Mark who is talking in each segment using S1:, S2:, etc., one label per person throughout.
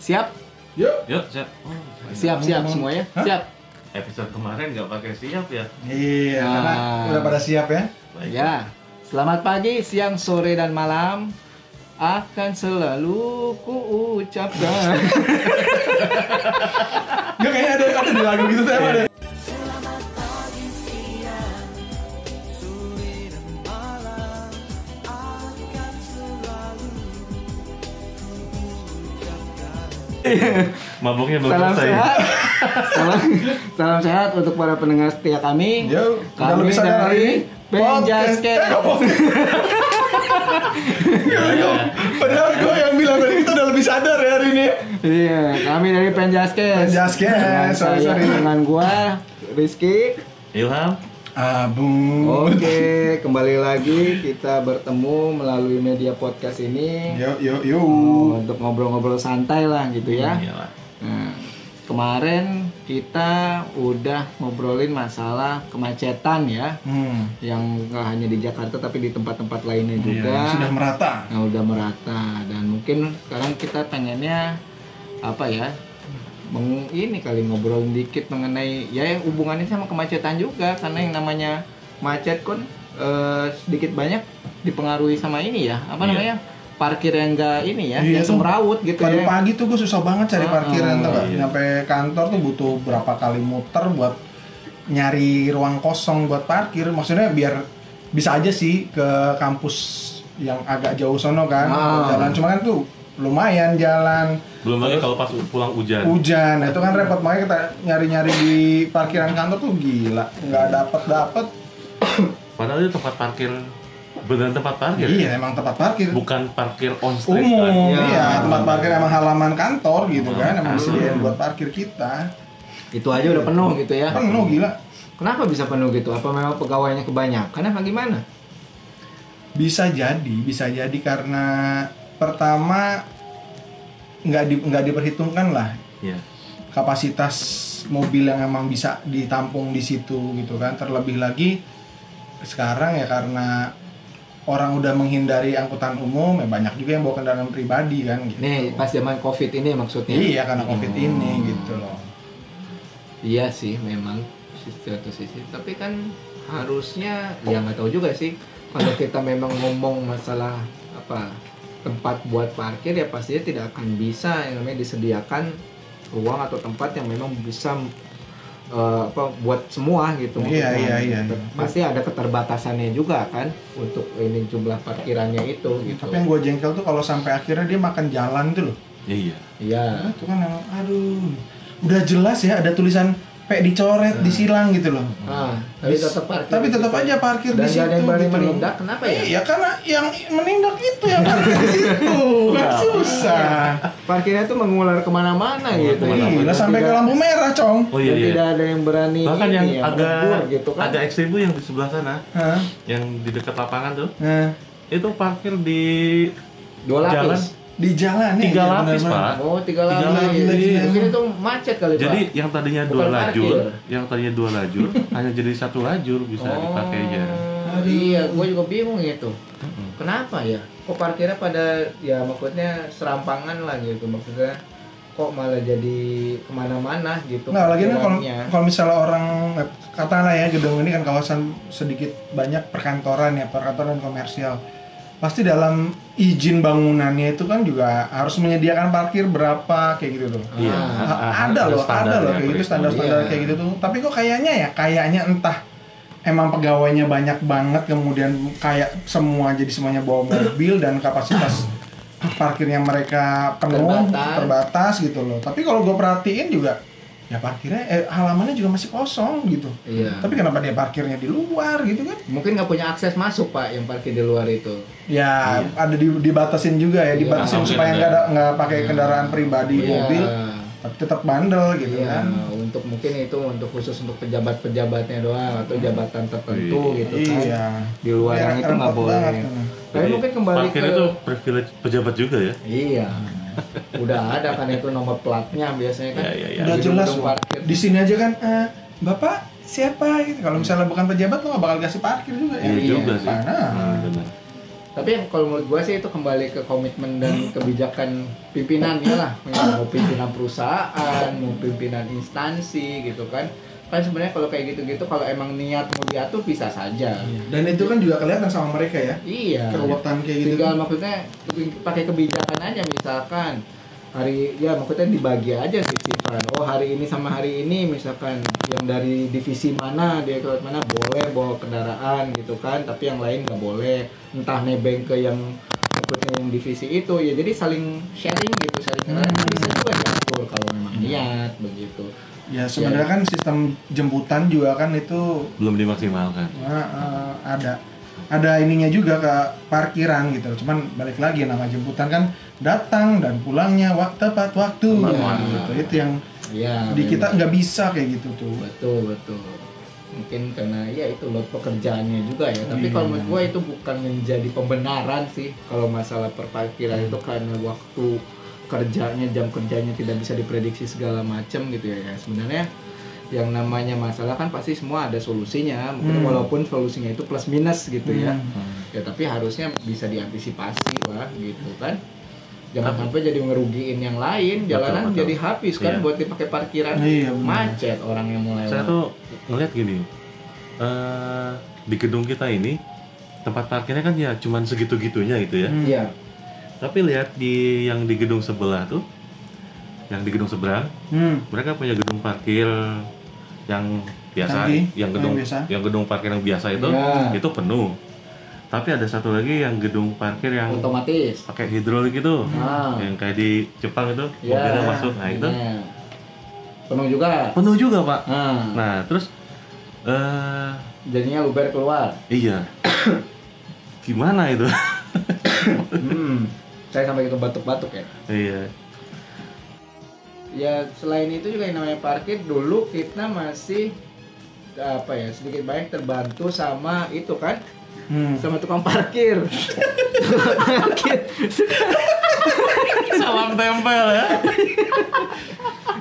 S1: Siap?
S2: Yuk.
S3: Yuk, siap. Oh,
S1: Siap, siap semuanya. Siap.
S3: Episode kemarin nggak pakai siap ya.
S2: Iya, karena
S1: Ah.
S2: udah pada siap ya.
S3: Baik.
S1: Ya. Selamat pagi, siang, sore dan malam. Akan selalu kuucapkan.
S2: Enggak kayaknya ada ada di lagu gitu tuh
S1: Iya.
S2: emang ada.
S3: Mabuknya belum
S1: salam
S3: selesai.
S1: sehat. salam, salam sehat untuk para pendengar setia kami.
S2: Yo, udah
S1: kami
S2: lebih sadar hari ini.
S1: dari
S2: Podcast.
S1: Penjasket.
S2: Eh, nggak podcast.
S3: Iya,
S2: Nggak, nggak. Padahal gue yang bilang tadi kita udah lebih sadar ya hari ini.
S1: Iya, kami dari Penjaskes.
S2: Penjaskes,
S1: Dengan
S2: sorry,
S1: saya,
S2: sorry.
S1: Dengan gua Rizky.
S3: Ilham,
S2: Abung.
S1: Oh. Oke, kembali lagi kita bertemu melalui media podcast ini.
S2: Yo yo yo.
S1: untuk ngobrol-ngobrol santai lah gitu ya.
S2: Iya.
S3: iyalah.
S1: Nah, kemarin kita udah ngobrolin masalah kemacetan ya,
S2: Hmm.
S1: yang nggak hanya di Jakarta tapi di tempat-tempat lainnya
S2: Iya,
S1: juga.
S2: sudah merata.
S1: Nah, udah merata dan mungkin sekarang kita pengennya apa ya? Meng, ini kali ngobrol dikit mengenai ya yang hubungannya sama kemacetan juga karena yang namanya macet kan eh, sedikit banyak dipengaruhi sama ini ya apa
S3: Iya.
S1: namanya parkir yang enggak ini ya
S2: Iya
S1: yang
S2: tuh.
S1: semrawut gitu
S2: Pada
S1: ya
S2: pagi tuh gue susah banget cari
S1: Ah,
S2: parkiran tau gak?
S3: iya.
S2: Nyampe kantor tuh butuh berapa kali muter buat nyari ruang kosong buat parkir. Maksudnya biar bisa aja sih ke kampus yang agak jauh sono kan.
S1: Ah.
S2: Jalan cuman kan tuh lumayan jalan
S3: Belum lagi kalau pas pulang hujan.
S2: hujan. Nah, itu kan repot makanya kita nyari-nyari di parkiran kantor tuh gila. nggak dapet-dapet.
S3: Padahal itu tempat parkir beneran tempat parkir. ya?
S2: Iya, emang tempat parkir.
S3: Bukan parkir on street kan.
S2: umum,
S1: kan?
S2: iya, tempat parkir emang halaman kantor gitu kan, emang
S3: Ah.
S2: disediain buat parkir kita.
S1: itu aja udah penuh gitu ya
S2: Penuh gila.
S1: kenapa bisa penuh gitu apa memang pegawainya kebanyakan apa gimana
S2: bisa jadi bisa jadi karena pertama nggak di, nggak diperhitungkan lah
S3: Iya.
S2: kapasitas mobil yang emang bisa ditampung di situ gitu kan terlebih lagi sekarang ya karena orang udah menghindari angkutan umum ya banyak juga yang bawa kendaraan pribadi kan gitu
S1: nih pas Hmm. zaman covid ini maksudnya
S2: iya karena covid ini gitu loh
S1: Iya sih memang di satu sisi tapi kan harusnya ya nggak tahu juga sih kalau kita memang ngomong masalah apa tempat buat parkir ya pastinya tidak akan bisa yang namanya disediakan ruang atau tempat yang memang bisa eh, apa buat semua gitu maksudnya.
S2: Iya, iya, iya, iya.
S1: pasti ada keterbatasannya juga kan untuk ini jumlah parkirannya itu gitu
S2: Iya, tapi yang gue jengkel tuh kalau sampai akhirnya dia makan jalan tuh loh
S3: Iya, iya.
S1: iya
S2: itu kan emang aduh udah jelas ya ada tulisan P
S1: Hmm.
S2: dicoret disilang gitu loh
S1: ah, tapi
S2: Bis-
S1: tetap parkir
S2: tapi tetap aja parkir
S1: dan
S2: di situ
S1: nggak ada yang berani
S2: gitu loh.
S1: menindak kenapa ya
S2: Iya karena yang menindak itu yang parkir di situ kan
S1: Iya.
S2: susah.
S1: parkirnya tuh mengular kemana-mana gitu.
S2: Gila Iya, sampai ke
S1: Tidak-
S2: lampu merah cong.
S3: Oh iya
S1: dan
S3: iya.
S1: Tidak ada yang berani.
S3: Bahkan yang
S1: ini ya, menegur
S3: agak
S1: gitu kan.
S3: agak ekstrim tuh yang di sebelah sana,
S2: Hah?
S3: yang di dekat lapangan tuh,
S2: Nah,
S3: itu parkir di
S1: dua
S3: jalan.
S1: lapis.
S2: di jalan ya,
S3: Tiga
S2: iya,
S3: lapis,
S2: benar-benar.
S3: Pak.
S1: Oh tiga
S3: Tiga iya.
S1: lapis.
S2: lapis lagi.
S1: Mungkin itu macet kali
S3: Jadi
S1: pak. Oh.
S3: yang tadinya
S1: Bukan
S3: dua
S1: parkir.
S3: lajur, yang tadinya dua lajur hanya jadi satu lajur bisa dipakainya.
S1: Oh, iya, gue juga bingung itu. Kenapa ya? Kok parkirnya pada ya maksudnya serampangan lah gitu maksudnya kok malah jadi kemana-mana gitu.
S2: Nggak lagi kan kalau
S1: parkirannya.
S2: kalau misalnya orang eh, katakanlah ya gedung ini kan kawasan sedikit banyak perkantoran ya perkantoran komersial pasti dalam izin bangunannya itu kan juga harus menyediakan parkir berapa kayak gitu tuh.
S3: Iya,
S1: Ah,
S3: ah, ah,
S2: ada loh, ada loh
S3: standarnya
S2: kayak gitu
S3: perhitungan.
S2: standar-standar
S1: Iya.
S2: kayak gitu tuh. Tapi kok kayaknya ya, kayaknya entah emang pegawainya banyak banget kemudian kayak semua jadi semuanya bawa mobil dan kapasitas parkirnya mereka penuh
S1: Terbatas.
S2: terbatas, gitu loh. Tapi kalau gue perhatiin juga ya parkirnya eh, halamannya juga masih kosong gitu.
S1: Iya.
S2: Tapi kenapa dia parkirnya di luar gitu kan?
S1: Mungkin nggak punya akses masuk pak yang parkir di luar itu.
S2: Ya ada di, dibatasin juga ya, dibatasin
S3: Iya.
S2: supaya nggak ada- nggak pakai kendaraan pribadi
S1: Iya.
S2: mobil, tapi tetap bandel gitu
S1: Iya,
S2: kan.
S1: untuk mungkin itu untuk khusus untuk pejabat-pejabatnya doang atau jabatan tertentu gitu kan.
S2: Iya.
S1: Di luaran
S2: Iya,
S1: itu nggak
S2: repot
S1: boleh.
S2: banget.
S1: Tapi
S3: Jadi,
S1: mungkin kembali ke
S3: parkirnya tuh privilege pejabat juga ya.
S1: Iya. Udah ada kan itu nomor platnya biasanya kan.
S3: Iya, iya, iya.
S2: Udah
S1: Di
S2: jelas
S1: gedung
S2: loh.
S1: parkir.
S2: Di sini aja kan eh, Bapak siapa gitu kalau misalnya bukan pejabat lo nggak bakal kasih parkir juga ya
S3: Iya
S1: Iya,
S3: juga sih.
S2: mana?
S3: Hmm, benar.
S1: Tapi yang kalau menurut gua sih itu kembali ke komitmen dan kebijakan pimpinannya lah. Ya, Mau pimpinan perusahaan, mau pimpinan instansi gitu kan. Kan sebenarnya kalau kayak gitu-gitu kalau emang niat mau diatur bisa saja.
S2: dan itu kan juga kelihatan sama mereka ya
S1: Iya.
S2: keruwetan kayak gitu
S1: Tinggal maksudnya kebi- pakai kebijakan aja misalkan hari ya maksudnya dibagi aja sisipkan. Oh hari ini sama hari ini misalkan yang dari divisi mana dia ke mana boleh bawa kendaraan gitu kan, tapi yang lain nggak boleh. Entah nebeng ke yang maksudnya yang divisi itu ya jadi saling sharing gitu sharing kendaraan
S2: Hmm. Iya.
S1: bisa juga diatur kalau memang niat begitu.
S2: ya sebenarnya kan sistem jemputan juga kan itu
S3: Belum dimaksimalkan.
S2: Nah, eh, ada ada ininya juga ke parkiran gitu. Cuman balik lagi nama jemputan kan datang dan pulangnya waktu tepat waktu
S1: Tepat
S2: gitu.
S1: waktu.
S2: Gitu. Itu yang
S1: Ya,
S2: di kita
S1: memang.
S2: nggak bisa kayak gitu tuh.
S1: betul betul mungkin karena ya itu loh pekerjaannya juga ya tapi
S2: Iya.
S1: kalau menurut gue itu bukan menjadi pembenaran sih kalau masalah perparkiran itu karena waktu kerjanya jam kerjanya tidak bisa diprediksi segala macam gitu ya, ya sebenarnya yang namanya masalah kan pasti semua ada solusinya mungkin
S2: Hmm.
S1: walaupun solusinya itu plus minus gitu ya
S2: Hmm.
S1: ya tapi harusnya bisa diantisipasi lah gitu kan jangan sampai jadi ngerugiin yang lain
S3: Betul,
S1: jalanan
S3: betul.
S1: jadi habis kan
S3: Iya.
S1: buat dipakai parkiran
S2: Iya, benar.
S1: macet orang yang mulai
S3: Saya tuh ngeliat gini, eh di gedung kita ini tempat parkirnya kan ya cuman segitu-gitunya gitu ya.
S2: Hmm.
S1: iya
S3: Tapi lihat di yang di gedung sebelah tuh, yang di gedung seberang,
S2: Hmm.
S3: mereka punya gedung parkir yang biasa,
S2: Canggih,
S3: yang gedung
S2: yang biasa.
S3: yang gedung parkir yang biasa itu
S1: Ya.
S3: itu penuh. Tapi ada satu lagi yang gedung parkir yang
S1: otomatis
S3: pakai hidrolik itu,
S1: Ah.
S3: yang kayak di Jepang itu
S1: Ya.
S3: Iya. mobilnya masuk, nah itu
S1: Iya. penuh juga
S3: penuh juga pak.
S1: nah,
S3: Nah terus eh
S1: jadinya luber keluar
S3: Iya. Gimana itu?
S1: hmm. saya sampai itu batuk-batuk ya
S3: iya.
S1: ya selain itu juga yang namanya parkir dulu kita masih apa ya sedikit banyak terbantu sama itu kan
S2: Hmm.
S1: sama tukang parkir tukang parkir
S3: Salam tempel ya.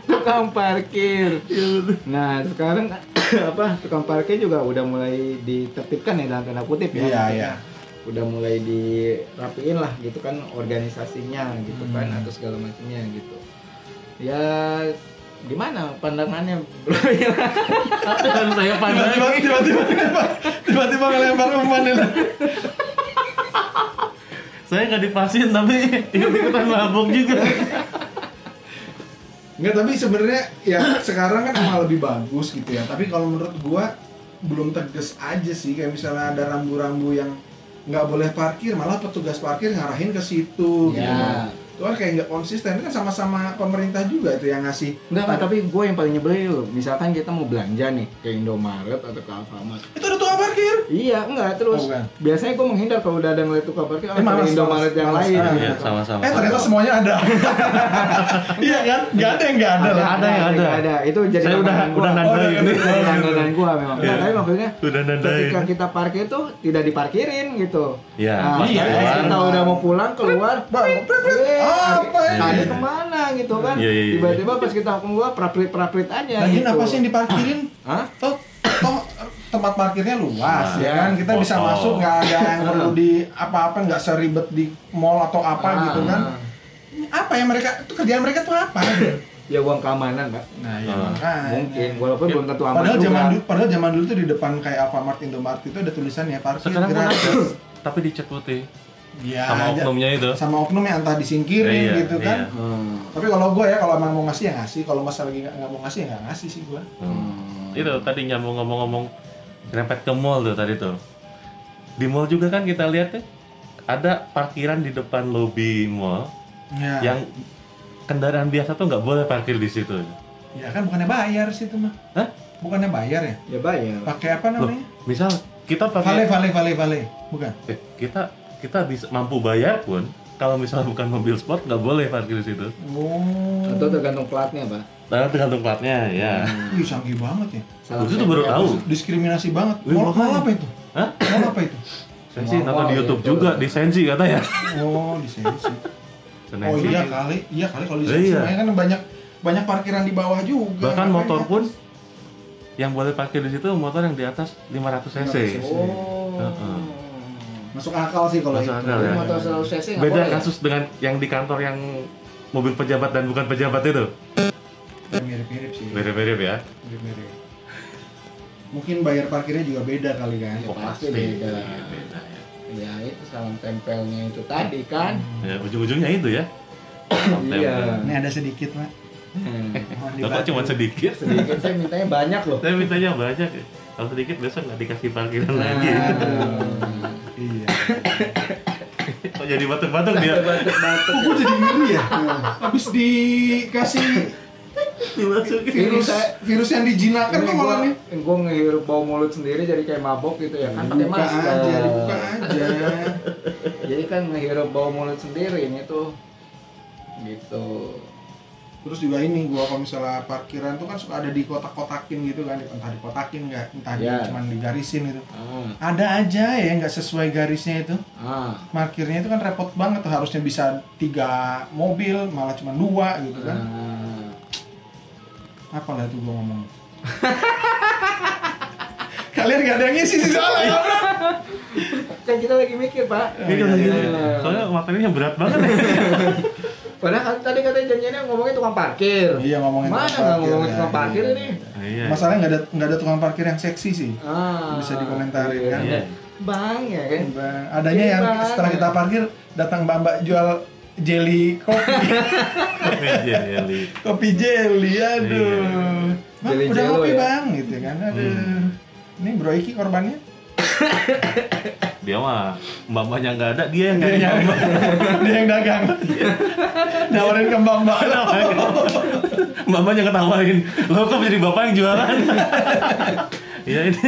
S1: tukang parkir
S3: Iya,
S1: nah sekarang apa tukang parkir juga udah mulai ditertibkan ya dalam tanda kutip ya
S2: Iya,
S1: maksudnya.
S2: iya.
S1: udah mulai dirapiin lah gitu kan organisasinya gitu kan
S2: Hmm.
S1: atau segala macamnya gitu ya gimana pandangannya bro
S3: Dan saya pandang.
S2: Tiba-tiba tiba-tiba ngelempar- tiba-tiba ngelempar umpan itu.
S3: Saya nggak divaksin tapi ikut-ikutan mabuk juga.
S2: Nggak, tapi sebenarnya ya sekarang kan emang lebih bagus gitu ya. Tapi kalau menurut gua belum tegas aja sih kayak misalnya ada rambu-rambu yang nggak boleh parkir, malah petugas parkir ngarahin ke situ gitu.
S1: Ya.
S2: Itu kan kayak nggak konsisten. Itu kan sama-sama pemerintah juga itu yang ngasih.
S1: Enggak, Pak, tapi gue yang paling nyebelin loh. Misalkan kita mau belanja nih ke Indomaret atau ke Alfamart.
S2: Itu ada tukang parkir.
S1: Iya, enggak terus.
S2: Oh, bukan.
S1: biasanya gue menghindar kalau udah ada ngeliat tukang parkir, ah,
S2: Eh, malas,
S1: ke Indomaret
S2: malas,
S1: yang
S2: malas.
S1: lain.
S2: Ah,
S1: gitu.
S3: Iya, sama-sama.
S2: Eh ternyata semuanya ada. Iya kan? Nggak ada yang nggak ada lah.
S3: ada yang ada.
S1: nggak ada. Itu jadi
S3: Saya udah
S1: langganan gua.
S3: udah
S2: Oh,
S3: gitu. nandain.
S2: udah,
S1: Jadi langganan gua memang. Enggak,
S3: Iya.
S1: tapi maksudnya
S3: Udah nandain.
S1: ketika kita parkir tuh tidak diparkirin gitu.
S3: Iya,
S1: Nah,
S3: pas
S1: iya,
S2: pulang.
S1: kita udah mau pulang keluar, bang, eh,
S2: Apa ini?
S1: tadi kemana gitu kan?
S3: Iya, iya, iya.
S1: Tiba-tiba pas kita keluar praprit praprit aja.
S2: Lagian
S1: gitu.
S2: apa sih yang diparkirin?
S1: Hah?
S2: Toh, toh tempat parkirnya luas
S3: Nah,
S2: ya kan kita bisa
S3: kosong.
S2: masuk nggak ada yang perlu di apa-apa nggak seribet di mall atau apa
S1: Ah,
S2: gitu kan
S1: ah.
S2: apa ya mereka itu kerjaan mereka tuh apa
S1: Ya uang keamanan, Pak.
S2: nah ya
S3: Ah.
S2: makanya.
S1: Mungkin walaupun belum tentu aman
S2: padahal
S1: juga.
S2: zaman dulu padahal zaman dulu tuh di depan kayak Alfamart Indomart itu ada tulisannya parkir
S3: Sekarang pun ada,
S2: gratis
S3: tapi dicat putih
S2: Iya,
S3: sama
S2: aja.
S3: oknumnya itu.
S2: sama oknum yang entah disingkirin
S3: Iya,
S2: gitu kan
S3: iya.
S1: Hmm.
S2: tapi kalau gue ya kalau emang mau ngasih ya ngasih kalau masa lagi nggak nggak mau ngasih ya nggak ngasih sih gue
S3: Hmm. Itu tadi nyambung ngomong-ngomong nyerempet ke mall tuh tadi tuh. Di mall juga kan kita lihat ya, ada parkiran di depan lobi mall
S2: ya, ya.
S3: yang kendaraan biasa tuh nggak boleh parkir di situ.
S2: kan bukannya bayar sih itu mah
S3: Hah?
S2: bukannya bayar ya
S1: Ya bayar.
S2: pakai apa
S3: Loh, Iya.
S2: namanya
S3: misal kita
S2: Vale,
S3: pakai
S2: vale, vale, vale. Bukan.
S3: eh, kita kita bisa mampu bayar pun kalau misal bukan mobil sport nggak boleh parkir di situ.
S2: Oh.
S1: Atau tergantung platnya, Pak.
S3: Karena tergantung platnya ya.
S2: Ih, canggih banget ya.
S1: Salah
S3: Itu tuh
S1: satu
S3: baru
S1: yang-
S3: tahu.
S2: Diskriminasi banget.
S3: Wih,
S2: Mall,
S3: makanya.
S2: mall apa itu?
S3: Hah?
S2: Mall apa itu?
S3: Saya sih
S1: Wow,
S3: nonton di
S1: wow,
S3: YouTube
S1: ya,
S3: juga
S1: betul.
S3: di Sensi katanya.
S2: Oh, di sensi.
S3: Sensi.
S2: Oh iya kali, iya kali kalau di
S3: Iya.
S2: sensi. Makanya kan banyak banyak parkiran di bawah juga.
S3: Bahkan
S2: Makanya
S3: motor pun yang boleh parkir di situ motor yang di atas 500 cc.
S2: 500 cc.
S1: Oh.
S2: Masuk akal sih kalau
S3: Masuk
S2: itu.
S3: akal ya.
S1: Motor selalu cc nggak
S3: Beda
S1: boleh ya?
S3: kasus dengan yang di kantor yang mobil pejabat dan bukan pejabat itu.
S2: Ya, Mirip-mirip sih.
S3: Mirip-mirip ya.
S2: Mirip-mirip. Mungkin bayar parkirnya juga beda kali kan.
S1: Ya, pasti beda.
S3: beda ya.
S1: Ya itu salam tempelnya itu tadi kan.
S3: Ya, ujung-ujungnya itu ya. Konten.
S1: Iya.
S2: Ini ada sedikit, Mak.
S1: Hmm.
S2: Mohon
S3: Lah, kok
S2: dibantu.
S3: cuma sedikit?
S1: Sedikit kan saya mintanya banyak loh.
S3: Saya mintanya banyak ya. Kalau sedikit besok nggak dikasih parkiran lagi.
S1: Nah,
S2: Iya.
S3: Kok jadi batuk-batuk dia?
S1: batuk-batuk.
S2: Kok gue jadi ngeri ya? Habis dikasih
S3: Dimasukin.
S2: virus virus yang dijinakan
S1: Ini
S2: kok malah nih.
S1: gue gue ngehirup bau mulut sendiri jadi kayak mabok gitu ya kan pakai
S2: Dibuka
S1: masker.
S2: aja, dibuka aja.
S1: Jadi kan ngehirup bau mulut sendiri ini tuh gitu.
S2: Terus juga ini gua kalau misalnya parkiran tuh kan suka ada di kotak-kotakin gitu kan, entah dikotakin nggak, entah di,
S1: Iya.
S2: cuman digarisin gitu.
S1: Ah,
S2: Ada aja ya yang nggak sesuai garisnya itu.
S1: ah,
S2: Parkirnya itu kan repot banget tuh harusnya bisa tiga mobil malah cuma dua gitu kan.
S1: ah.
S2: Apalah itu gua ngomong. Kalian gak ada yang ngisi sih soalnya.
S1: Kan kita lagi mikir pak.
S3: Ini lagi-
S1: iya,
S3: Soalnya materinya berat banget ya.
S1: Padahal kan tadi katanya janjiannya ngomongin tukang parkir.
S2: Iya, ngomongin
S1: Mana
S2: tukang
S1: nggak
S2: parkir
S1: ngomongin
S2: ya.
S1: tukang parkir ini?
S3: Iya.
S2: Masalahnya nggak ada nggak ada tukang parkir yang seksi sih.
S1: Ah,
S2: Bisa dikomentarin,
S1: iya.
S2: kan?
S3: Iya.
S1: Bang ya kan.
S2: Mbak- Adanya yang
S1: Gimana?
S2: setelah kita parkir datang mbak-mbak jual jelly kopi,
S3: Meja jeli.
S2: kopi jelly, aduh.
S3: Iya.
S2: Bang,
S1: Jelly
S2: udah
S1: jello
S2: kopi
S1: ya?
S2: bang, gitu kan, aduh. Ini Bro Iki korbannya?
S3: Dia mah mbak-mbaknya nggak ada, dia yang
S2: Dia
S1: Iya.
S3: nggak ada.
S2: yang, dia yang dagang. Nawarin ke mbak mbak.
S3: Mbak-mbaknya ketawain. Lo kok jadi bapak yang jualan? Iya ini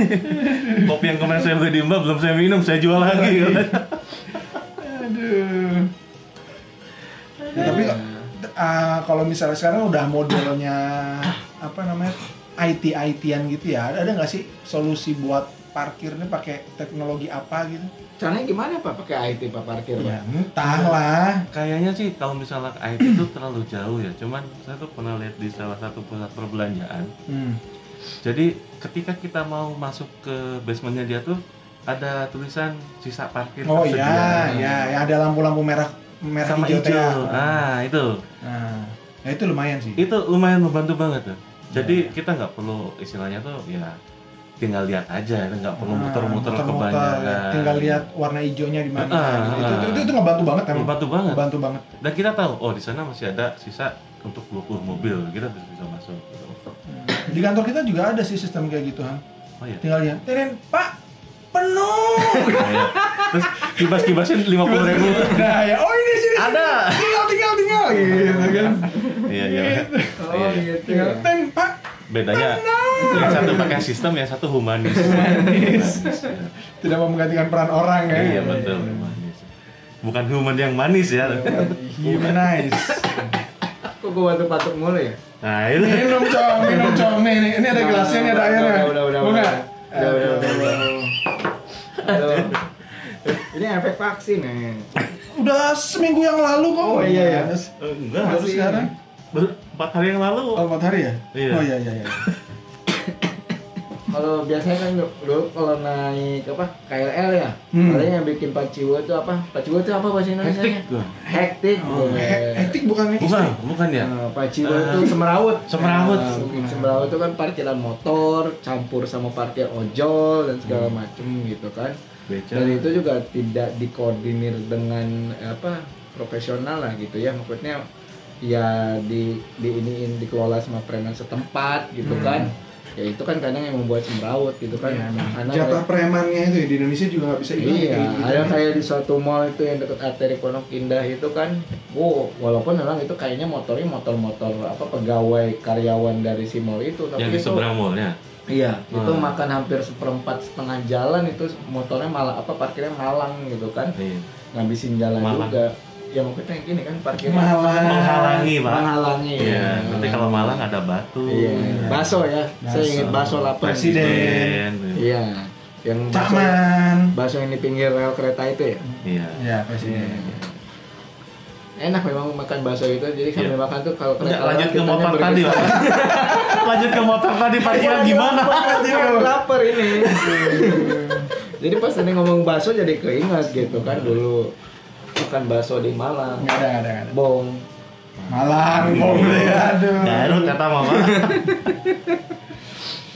S3: kopi yang kemarin saya beli di Mbak belum saya minum, saya jual lagi.
S1: Iya.
S2: Aduh. Ya, tapi eh, kalau misalnya sekarang udah modelnya apa namanya IT ITan gitu ya, ada ada nggak sih solusi buat parkirnya pakai teknologi apa gitu?
S1: Caranya gimana pak pakai IT pak parkir pak?
S2: Ya entahlah.
S3: Kayaknya sih kalau misalnya IT itu terlalu jauh ya. Cuman saya tuh pernah lihat di salah satu pusat perbelanjaan.
S2: Hmm.
S3: Jadi ketika kita mau masuk ke basementnya dia tuh ada tulisan sisa parkir
S2: Oh
S3: tersedia.
S2: iya, iya, ya ada lampu-lampu merah merah
S3: sama
S2: hijau, teh, ya.
S3: hijau. Nah itu
S2: Nah, ya itu lumayan sih.
S3: itu lumayan membantu banget tuh
S2: Iya,
S3: jadi kita nggak perlu istilahnya tuh ya tinggal lihat aja nggak perlu
S2: Nah,
S3: muter-muter kan.
S2: muter-muter, ya.
S3: kebanyakan
S2: Tinggal lihat warna hijaunya di mana.
S3: Ah,
S2: gitu. itu,
S3: ah.
S2: itu, itu ngebantu banget emang.
S3: membantu banget
S2: Ngebantu banget.
S3: dan kita tahu oh di sana masih ada sisa untuk 20 mobil kita bisa bisa masuk gitu.
S2: Di kantor kita juga ada sih sistem kayak gitu, Han.
S3: oh iya
S2: Tinggal lihat. Tenen, Pak, penuh.
S3: Iya. terus kibas-kibasin 50 ribu
S2: nah, ya oh ini sini.
S3: Ada.
S2: Tinggal tinggal tinggal gitu kan.
S3: iya iya
S1: Oh
S3: Iya.
S1: gitu.
S2: Tinggal
S1: ya.
S2: ten, Pak.
S3: bedanya yang satu pakai sistem yang satu humanis Humanis,
S2: Tidak mau menggantikan peran orang ya.
S3: ya. iya betul humanis bukan human yang manis ya
S2: Humanize.
S1: Kok gue batuk-batuk mulu ya?
S3: nah itu
S2: Minum com, minum com. Nih, nih, ini ada gelasnya, ini ada airnya.
S1: Udah, udah, udah,
S2: Mau
S1: udah.
S2: nggak?
S1: Udah, udah, udah,
S2: Aduh.
S1: udah. Aduh. Ini efek vaksin ya.
S2: Udah seminggu yang lalu kok.
S1: Oh, iya, iya.
S2: Terus-
S3: Eh, enggak
S2: Baru
S1: Masih.
S2: sekarang.
S3: baru empat hari yang lalu
S2: Oh, empat hari ya?
S3: Iya.
S2: Oh iya iya iya.
S1: Kalau biasanya kan dulu- dulu kalau naik apa KLL ya,
S2: Hmm.
S1: paling yang bikin paciwo itu apa? Paciwo itu apa bahasa Indonesia?
S3: Hektik.
S1: Hektik.
S2: Oh, he- etik bukan etik.
S3: bukan bukan ya
S1: Nah, paciwo itu semeraut.
S3: semeraut.
S1: Nah, bikin semeraut itu kan parkiran motor campur sama parkir ojol dan segala macem gitu kan.
S3: beca
S1: Dan itu juga tidak dikoordinir dengan eh, apa profesional lah gitu ya maksudnya ya di di iniin dikelola sama preman setempat gitu kan ya itu kan kadang yang membuat semrawut gitu kan
S2: Iya,
S1: karena
S2: Jatah premannya itu ya, di Indonesia juga nggak bisa
S1: kayak-
S2: hilang.
S1: iya
S2: Gitu,
S1: ada
S2: kan.
S1: kayak di suatu mall itu yang dekat arteri Pondok Indah itu kan wow walaupun memang itu kayaknya motornya motor-motor apa pegawai karyawan dari si mall itu tapi
S3: yang di
S1: itu
S3: seberang mallnya
S1: Iya, itu
S3: Hmm.
S1: makan hampir seperempat setengah jalan itu motornya malah apa parkirnya malang gitu kan,
S3: Iya.
S1: ngabisin jalan
S3: Malang.
S1: juga. Ya maksudnya yang gini kan parkirnya
S2: Malang.
S3: menghalangi pak
S1: menghalangi.
S3: iya
S1: Ya.
S3: nanti kalau malang ada batu
S1: Iya, baso ya, saya
S2: Baso.
S1: ingat baso lapar.
S2: Presiden.
S1: Iya, yang baso,
S2: Cakman.
S1: baso yang di pinggir rel kereta itu ya.
S3: iya
S2: Ya presiden.
S1: enak memang makan bakso itu jadi sambil makan tuh kalau
S3: Udah,
S1: kereta
S3: Iya.
S1: lewat,
S3: lanjut ke
S1: kitanya
S3: motor
S1: bergetar.
S3: tadi lah. lanjut ke motor tadi parkiran Iya, gimana?
S1: Iya, lapar ini jadi pas tadi ngomong bakso jadi keinget gitu kan dulu makan bakso di Malang
S2: nggak ada nggak ada nggak ada
S1: bong
S2: malang mau beli aduh
S3: Garut kata mama.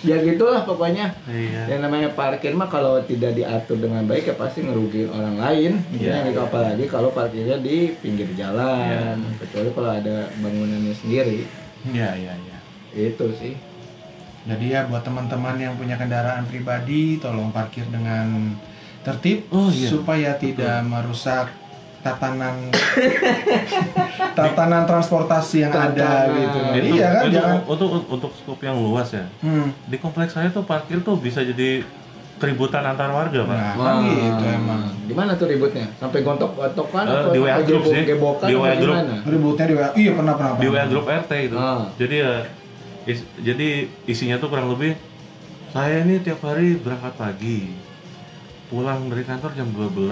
S1: ya gitulah pokoknya
S3: Iya.
S1: yang namanya parkir mah kalau tidak diatur dengan baik ya pasti ngerugiin orang lain
S3: Iya. Iya.
S1: Ya, gitu. apalagi kalau parkirnya di pinggir jalan kecuali kalau ada bangunannya sendiri
S2: iya iya iya
S1: itu sih
S2: jadi ya buat teman-teman yang punya kendaraan pribadi tolong parkir dengan tertib
S3: Oh, iya.
S2: supaya tidak merusak tatanan tatanan transportasi yang ada
S1: Tatanan.
S2: gitu
S3: Nah,
S1: Itu-
S2: iya kan
S3: itu
S2: jangan
S3: untuk untuk skup yang luas ya.
S2: hmm.
S3: Di kompleks saya tuh parkir tuh bisa jadi keributan antar warga, Pak.
S2: nah kan gitu emang
S1: Gimana tuh ributnya? Sampai gontok-gontokan
S3: Eh,
S1: atau
S3: di WA
S1: sampai
S3: group sih.
S1: gebok-gebokan
S3: Di
S1: apa
S3: WA group.
S1: gimana?
S2: ributnya di WA iya pernah pernah,
S3: di
S2: pernah.
S3: WA grup RT gitu.
S1: Ah.
S3: Jadi ya is- jadi isinya tuh kurang lebih saya ini tiap hari berangkat pagi. Pulang dari kantor jam 12.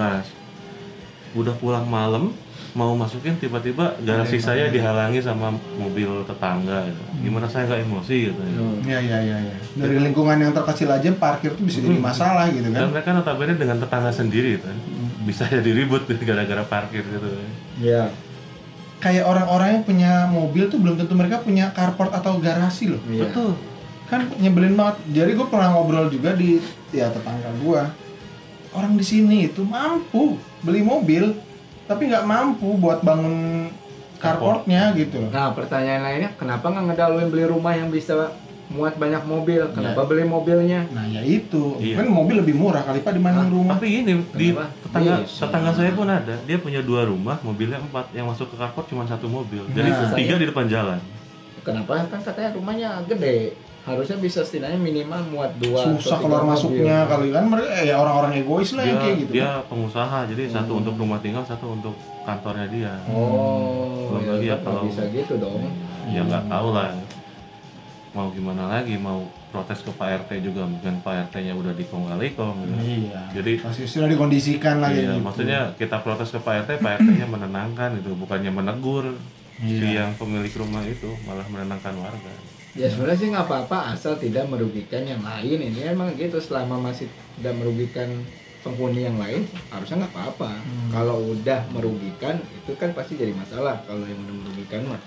S3: Udah pulang malam mau masukin tiba-tiba garasi
S1: Iya,
S3: saya dihalangi sama mobil tetangga gitu. Gimana saya nggak emosi gitu. ya.
S1: Hmm.
S2: Iya iya iya. Ya. Dari lingkungan yang terkecil aja parkir tuh bisa jadi
S3: Hmm.
S2: masalah gitu
S3: Dan
S2: kan.
S3: mereka notabene dengan tetangga sendiri gitu.
S1: Hmm.
S3: Bisa jadi ribut gitu, gara-gara parkir gitu.
S1: Iya.
S2: Kayak orang-orang yang punya mobil tuh belum tentu mereka punya carport atau garasi loh.
S1: Iya.
S3: Betul.
S2: Kan nyebelin banget. Jadi gue pernah ngobrol juga di ya tetangga gua. Orang di sini itu mampu beli mobil tapi nggak mampu buat bangun carportnya gitu loh.
S1: Nah, pertanyaan lainnya kenapa nggak ngedaluin beli rumah yang bisa muat banyak mobil? Kenapa beli mobilnya?
S2: Nah ya itu,
S3: Iya. Ah,
S2: kan mobil lebih murah kali pak dibanding rumah.
S3: Tapi ini di
S2: Iya,
S1: Kenapa?
S3: tetangga
S1: Bisa.
S3: tetangga saya pun ada. Dia punya dua rumah, mobilnya empat. Yang masuk ke carport cuma satu mobil. Jadi
S2: Nah.
S3: tiga di depan jalan.
S1: Kenapa? Kan katanya rumahnya gede. Harusnya bisa setidaknya minimal muat dua atau
S2: Susah
S1: tiga
S2: keluar
S1: mobil.
S2: masuknya kali kan mereka ya orang-orang egois lah
S3: Dia
S2: yang kayak gitu. Hmm.
S3: dia pengusaha. Jadi satu untuk rumah tinggal, satu untuk kantornya dia.
S1: Oh,
S3: Belum
S1: ya,
S3: lagi ya
S1: tetap nggak
S3: kalau-
S1: bisa gitu dong.
S3: Ya
S2: Hmm.
S3: nggak tahu lah. Mau gimana lagi? Mau protes ke Pak RT juga mungkin Pak RT-nya udah dikong-alikong gitu.
S2: Iya.
S3: Jadi
S2: Pasti sudah dikondisikan lagi. gitu.
S3: Iya, maksudnya kita protes ke Pak RT, Pak RT-nya menenangkan itu, bukannya menegur
S2: Iya.
S3: si yang pemilik rumah itu, malah menenangkan warga.
S1: Ya sebenarnya sih nggak apa-apa asal tidak merugikan yang lain. Ini emang gitu selama masih tidak merugikan penghuni yang lain harusnya nggak apa-apa. Kalau udah merugikan itu kan pasti jadi masalah kalau yang udah merugikan mah.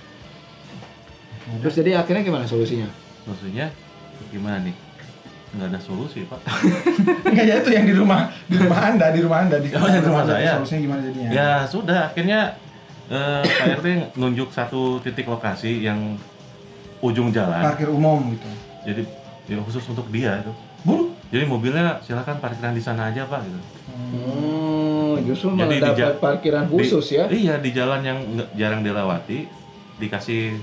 S1: Terus jadi akhirnya gimana solusinya?
S3: Maksudnya gimana nih? Nggak ada solusi, Pak.
S2: Enggak ya itu yang di rumah, di rumah Anda, di rumah Anda di
S3: Oh, yang di rumah saya.
S2: Solusinya gimana jadinya?
S3: Ya sudah, akhirnya eh, Pak RT nunjuk satu titik lokasi yang ujung jalan.
S2: Parkir umum gitu.
S3: Jadi ya khusus untuk dia itu.
S2: Buruk.
S3: Jadi mobilnya silakan parkiran di sana aja, Pak gitu.
S1: Oh, justru
S3: Jadi
S1: malah
S3: di
S1: dapat
S3: ja-
S1: parkiran khusus
S3: Di-
S1: ya?
S3: Iya, di jalan yang nggak- jarang dilewati dikasih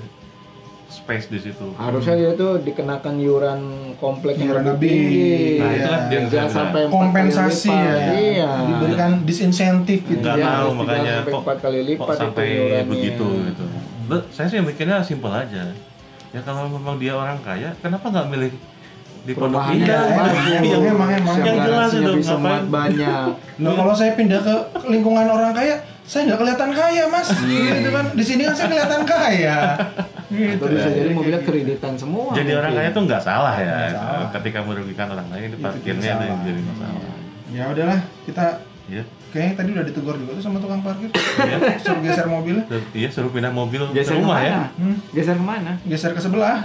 S3: space di situ.
S1: Harusnya dia tuh dikenakan yuran komplek yang
S2: Yuran
S1: lebih
S2: lebih.
S1: tinggi.
S2: Nah,
S3: itu kan dia nggak
S1: Jangan
S3: bilang.
S1: sampai empat kali
S2: Kompensasi
S1: lipat.
S2: ya.
S1: Iya.
S2: Diberikan disinsentif gitu.
S3: Nggak
S1: Iya,
S3: mau
S1: harus
S3: makanya
S1: dibilang sampai empat kali lipat
S3: kok
S1: itu
S3: sampai
S1: iurannya.
S3: begitu gitu. Be- saya sih mikirnya simpel aja. Ya kalau memang dia orang kaya, kenapa nggak milih di pondok
S1: Perumahannya
S3: indah?
S1: yang
S2: emang,
S1: bagus.
S2: iya, emang, emang.
S1: Yang
S3: Yang jelas
S1: garasinya
S3: itu,
S1: bisa
S3: ngapain?
S1: muat banyak.
S2: Nah, kalau saya pindah ke lingkungan orang kaya, saya nggak kelihatan kaya, Mas.
S3: Iya,
S2: gitu kan. Di sini kan saya kelihatan kaya. Gitu.
S1: Atau bisa jadi mobilnya kreditan semua.
S3: Iya, Jadi orang kaya
S1: Iya.
S3: itu nggak salah ya.
S2: Nggak salah.
S3: Ketika merugikan orang lain di
S2: Itu
S3: parkirnya
S2: jadi
S3: itu
S2: salah.
S3: jadi masalah.
S2: Ya udahlah, kita
S3: Iya.
S2: kayaknya tadi udah ditegur juga tuh sama tukang parkir. Suruh geser mobilnya.
S3: Ter- Iya suruh pindah mobil ke
S1: Geser
S3: rumah
S1: kemana?
S3: ya.
S2: Hmm.
S1: Geser kemana?
S2: geser ke sebelah.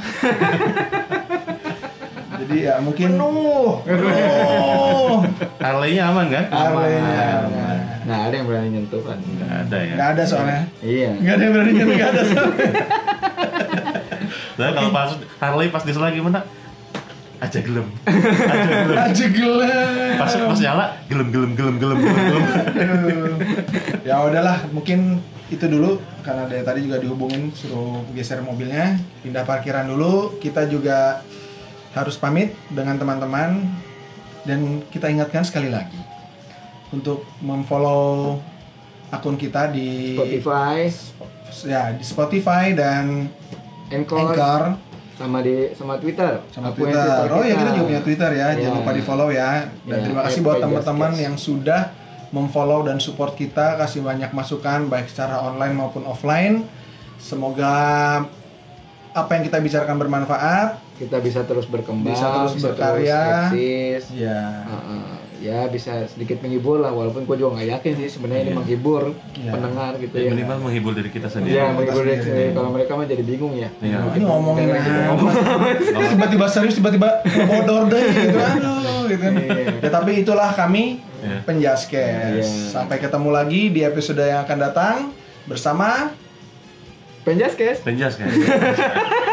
S2: Jadi ya mungkin penuh. Penuh.
S3: Harley-nya aman kan?
S2: Harley-nya aman.
S1: Nah, ada yang berani nyentuh kan?
S3: Nggak ada ya.
S2: Nggak ada soalnya.
S1: Iya.
S2: Nggak ada yang berani nyentuh, nggak ada soalnya.
S3: Nah, kalau pas Harley pas disela gimana? Aja gelem. Aja gelem.
S2: Aja gelap.
S3: Pas pas nyala gelem gelem gelem gelem gelem. gelem.
S2: Aduh. ya udahlah, mungkin itu dulu karena dari tadi juga dihubungin suruh geser mobilnya, pindah parkiran dulu. Kita juga harus pamit dengan teman-teman dan kita ingatkan sekali lagi untuk memfollow akun kita di
S1: Spotify,
S2: ya di Spotify dan
S1: Anchor,
S2: Anchor
S1: sama di sama Twitter.
S2: sama
S1: Akun
S2: Nah, Twitter. Oh ya kita juga punya Twitter ya, jangan
S1: Iya.
S2: lupa di follow ya. Dan
S1: Iya,
S2: terima kasih
S1: at
S2: buat
S1: Pajas
S2: teman-teman
S1: Cast.
S2: yang sudah memfollow dan support kita, kasih banyak masukan baik secara online maupun offline. Semoga apa yang kita bicarakan bermanfaat.
S1: kita bisa terus berkembang
S2: Bisa terus berkarya.
S1: eksis.
S2: Ya.
S1: Heeh. ya bisa sedikit menghibur lah walaupun gue juga nggak yakin sih sebenarnya ini
S3: Iya.
S1: menghibur
S2: Iya.
S1: pendengar gitu
S3: Ya,
S1: ya
S3: minimal menghibur diri kita
S1: Iya,
S3: sendiri.
S1: menghibur
S2: Iya.
S1: sendiri. kalau mereka mah jadi bingung ya
S3: Iya.
S2: Ini ngomongin
S1: Kita lagi
S2: apa?
S1: ngomong.
S2: tiba-tiba serius tiba-tiba bodor deh gitu aduh gitu kan.
S1: Iya.
S2: Ya tapi itulah kami
S3: Iya.
S2: penjaskes.
S1: Iya.
S2: Sampai ketemu lagi di episode yang akan datang bersama
S1: penjaskes
S3: Penjas kan.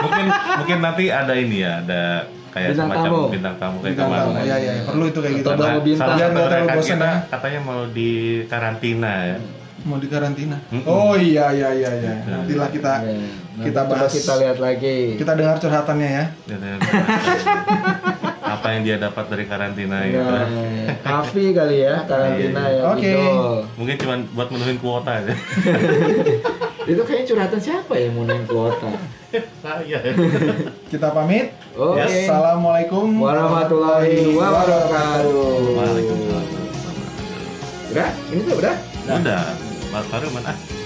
S3: mungkin mungkin nanti ada ini ya, ada kayak
S1: Bintang
S3: semacam
S1: tamu.
S3: bintang tamu kayak
S2: bintang
S3: kemarin.
S2: tamu. Ya ya ya, perlu itu kayak gitu.
S1: Bintang
S3: Karena
S1: tamu bintang.
S3: salah
S2: Biar
S3: satu
S2: nggak terlalu
S3: rekan
S2: bosan
S3: kita
S2: ya.
S3: katanya mau di karantina ya.
S2: Mau di karantina.
S3: Mm-mm.
S2: Oh iya iya iya iya. Nantilah kita
S1: Iya. Nanti
S2: kita
S1: coba
S2: bahas.
S1: kita lihat lagi
S2: kita dengar curhatannya ya.
S3: Katanya, Apa yang dia dapat dari karantina
S2: Iya.
S1: Nah,
S3: gitu.
S1: Kavi kali ya karantina
S3: Iya.
S1: yang
S2: Oke.
S1: idol.
S3: Mungkin cuma buat menuhin kuota ya.
S1: Itu kayaknya curhatan siapa yang mau naik kuota?
S3: Saya.
S2: Kita pamit.
S1: Oke.
S2: Ya,
S3: Yes,
S2: Assalamualaikum
S1: Warahmatullahi wabarakatuh.
S3: Waalaikumsalam.
S1: Udah, ini tuh udah.
S3: Udah, Mas Faru mana?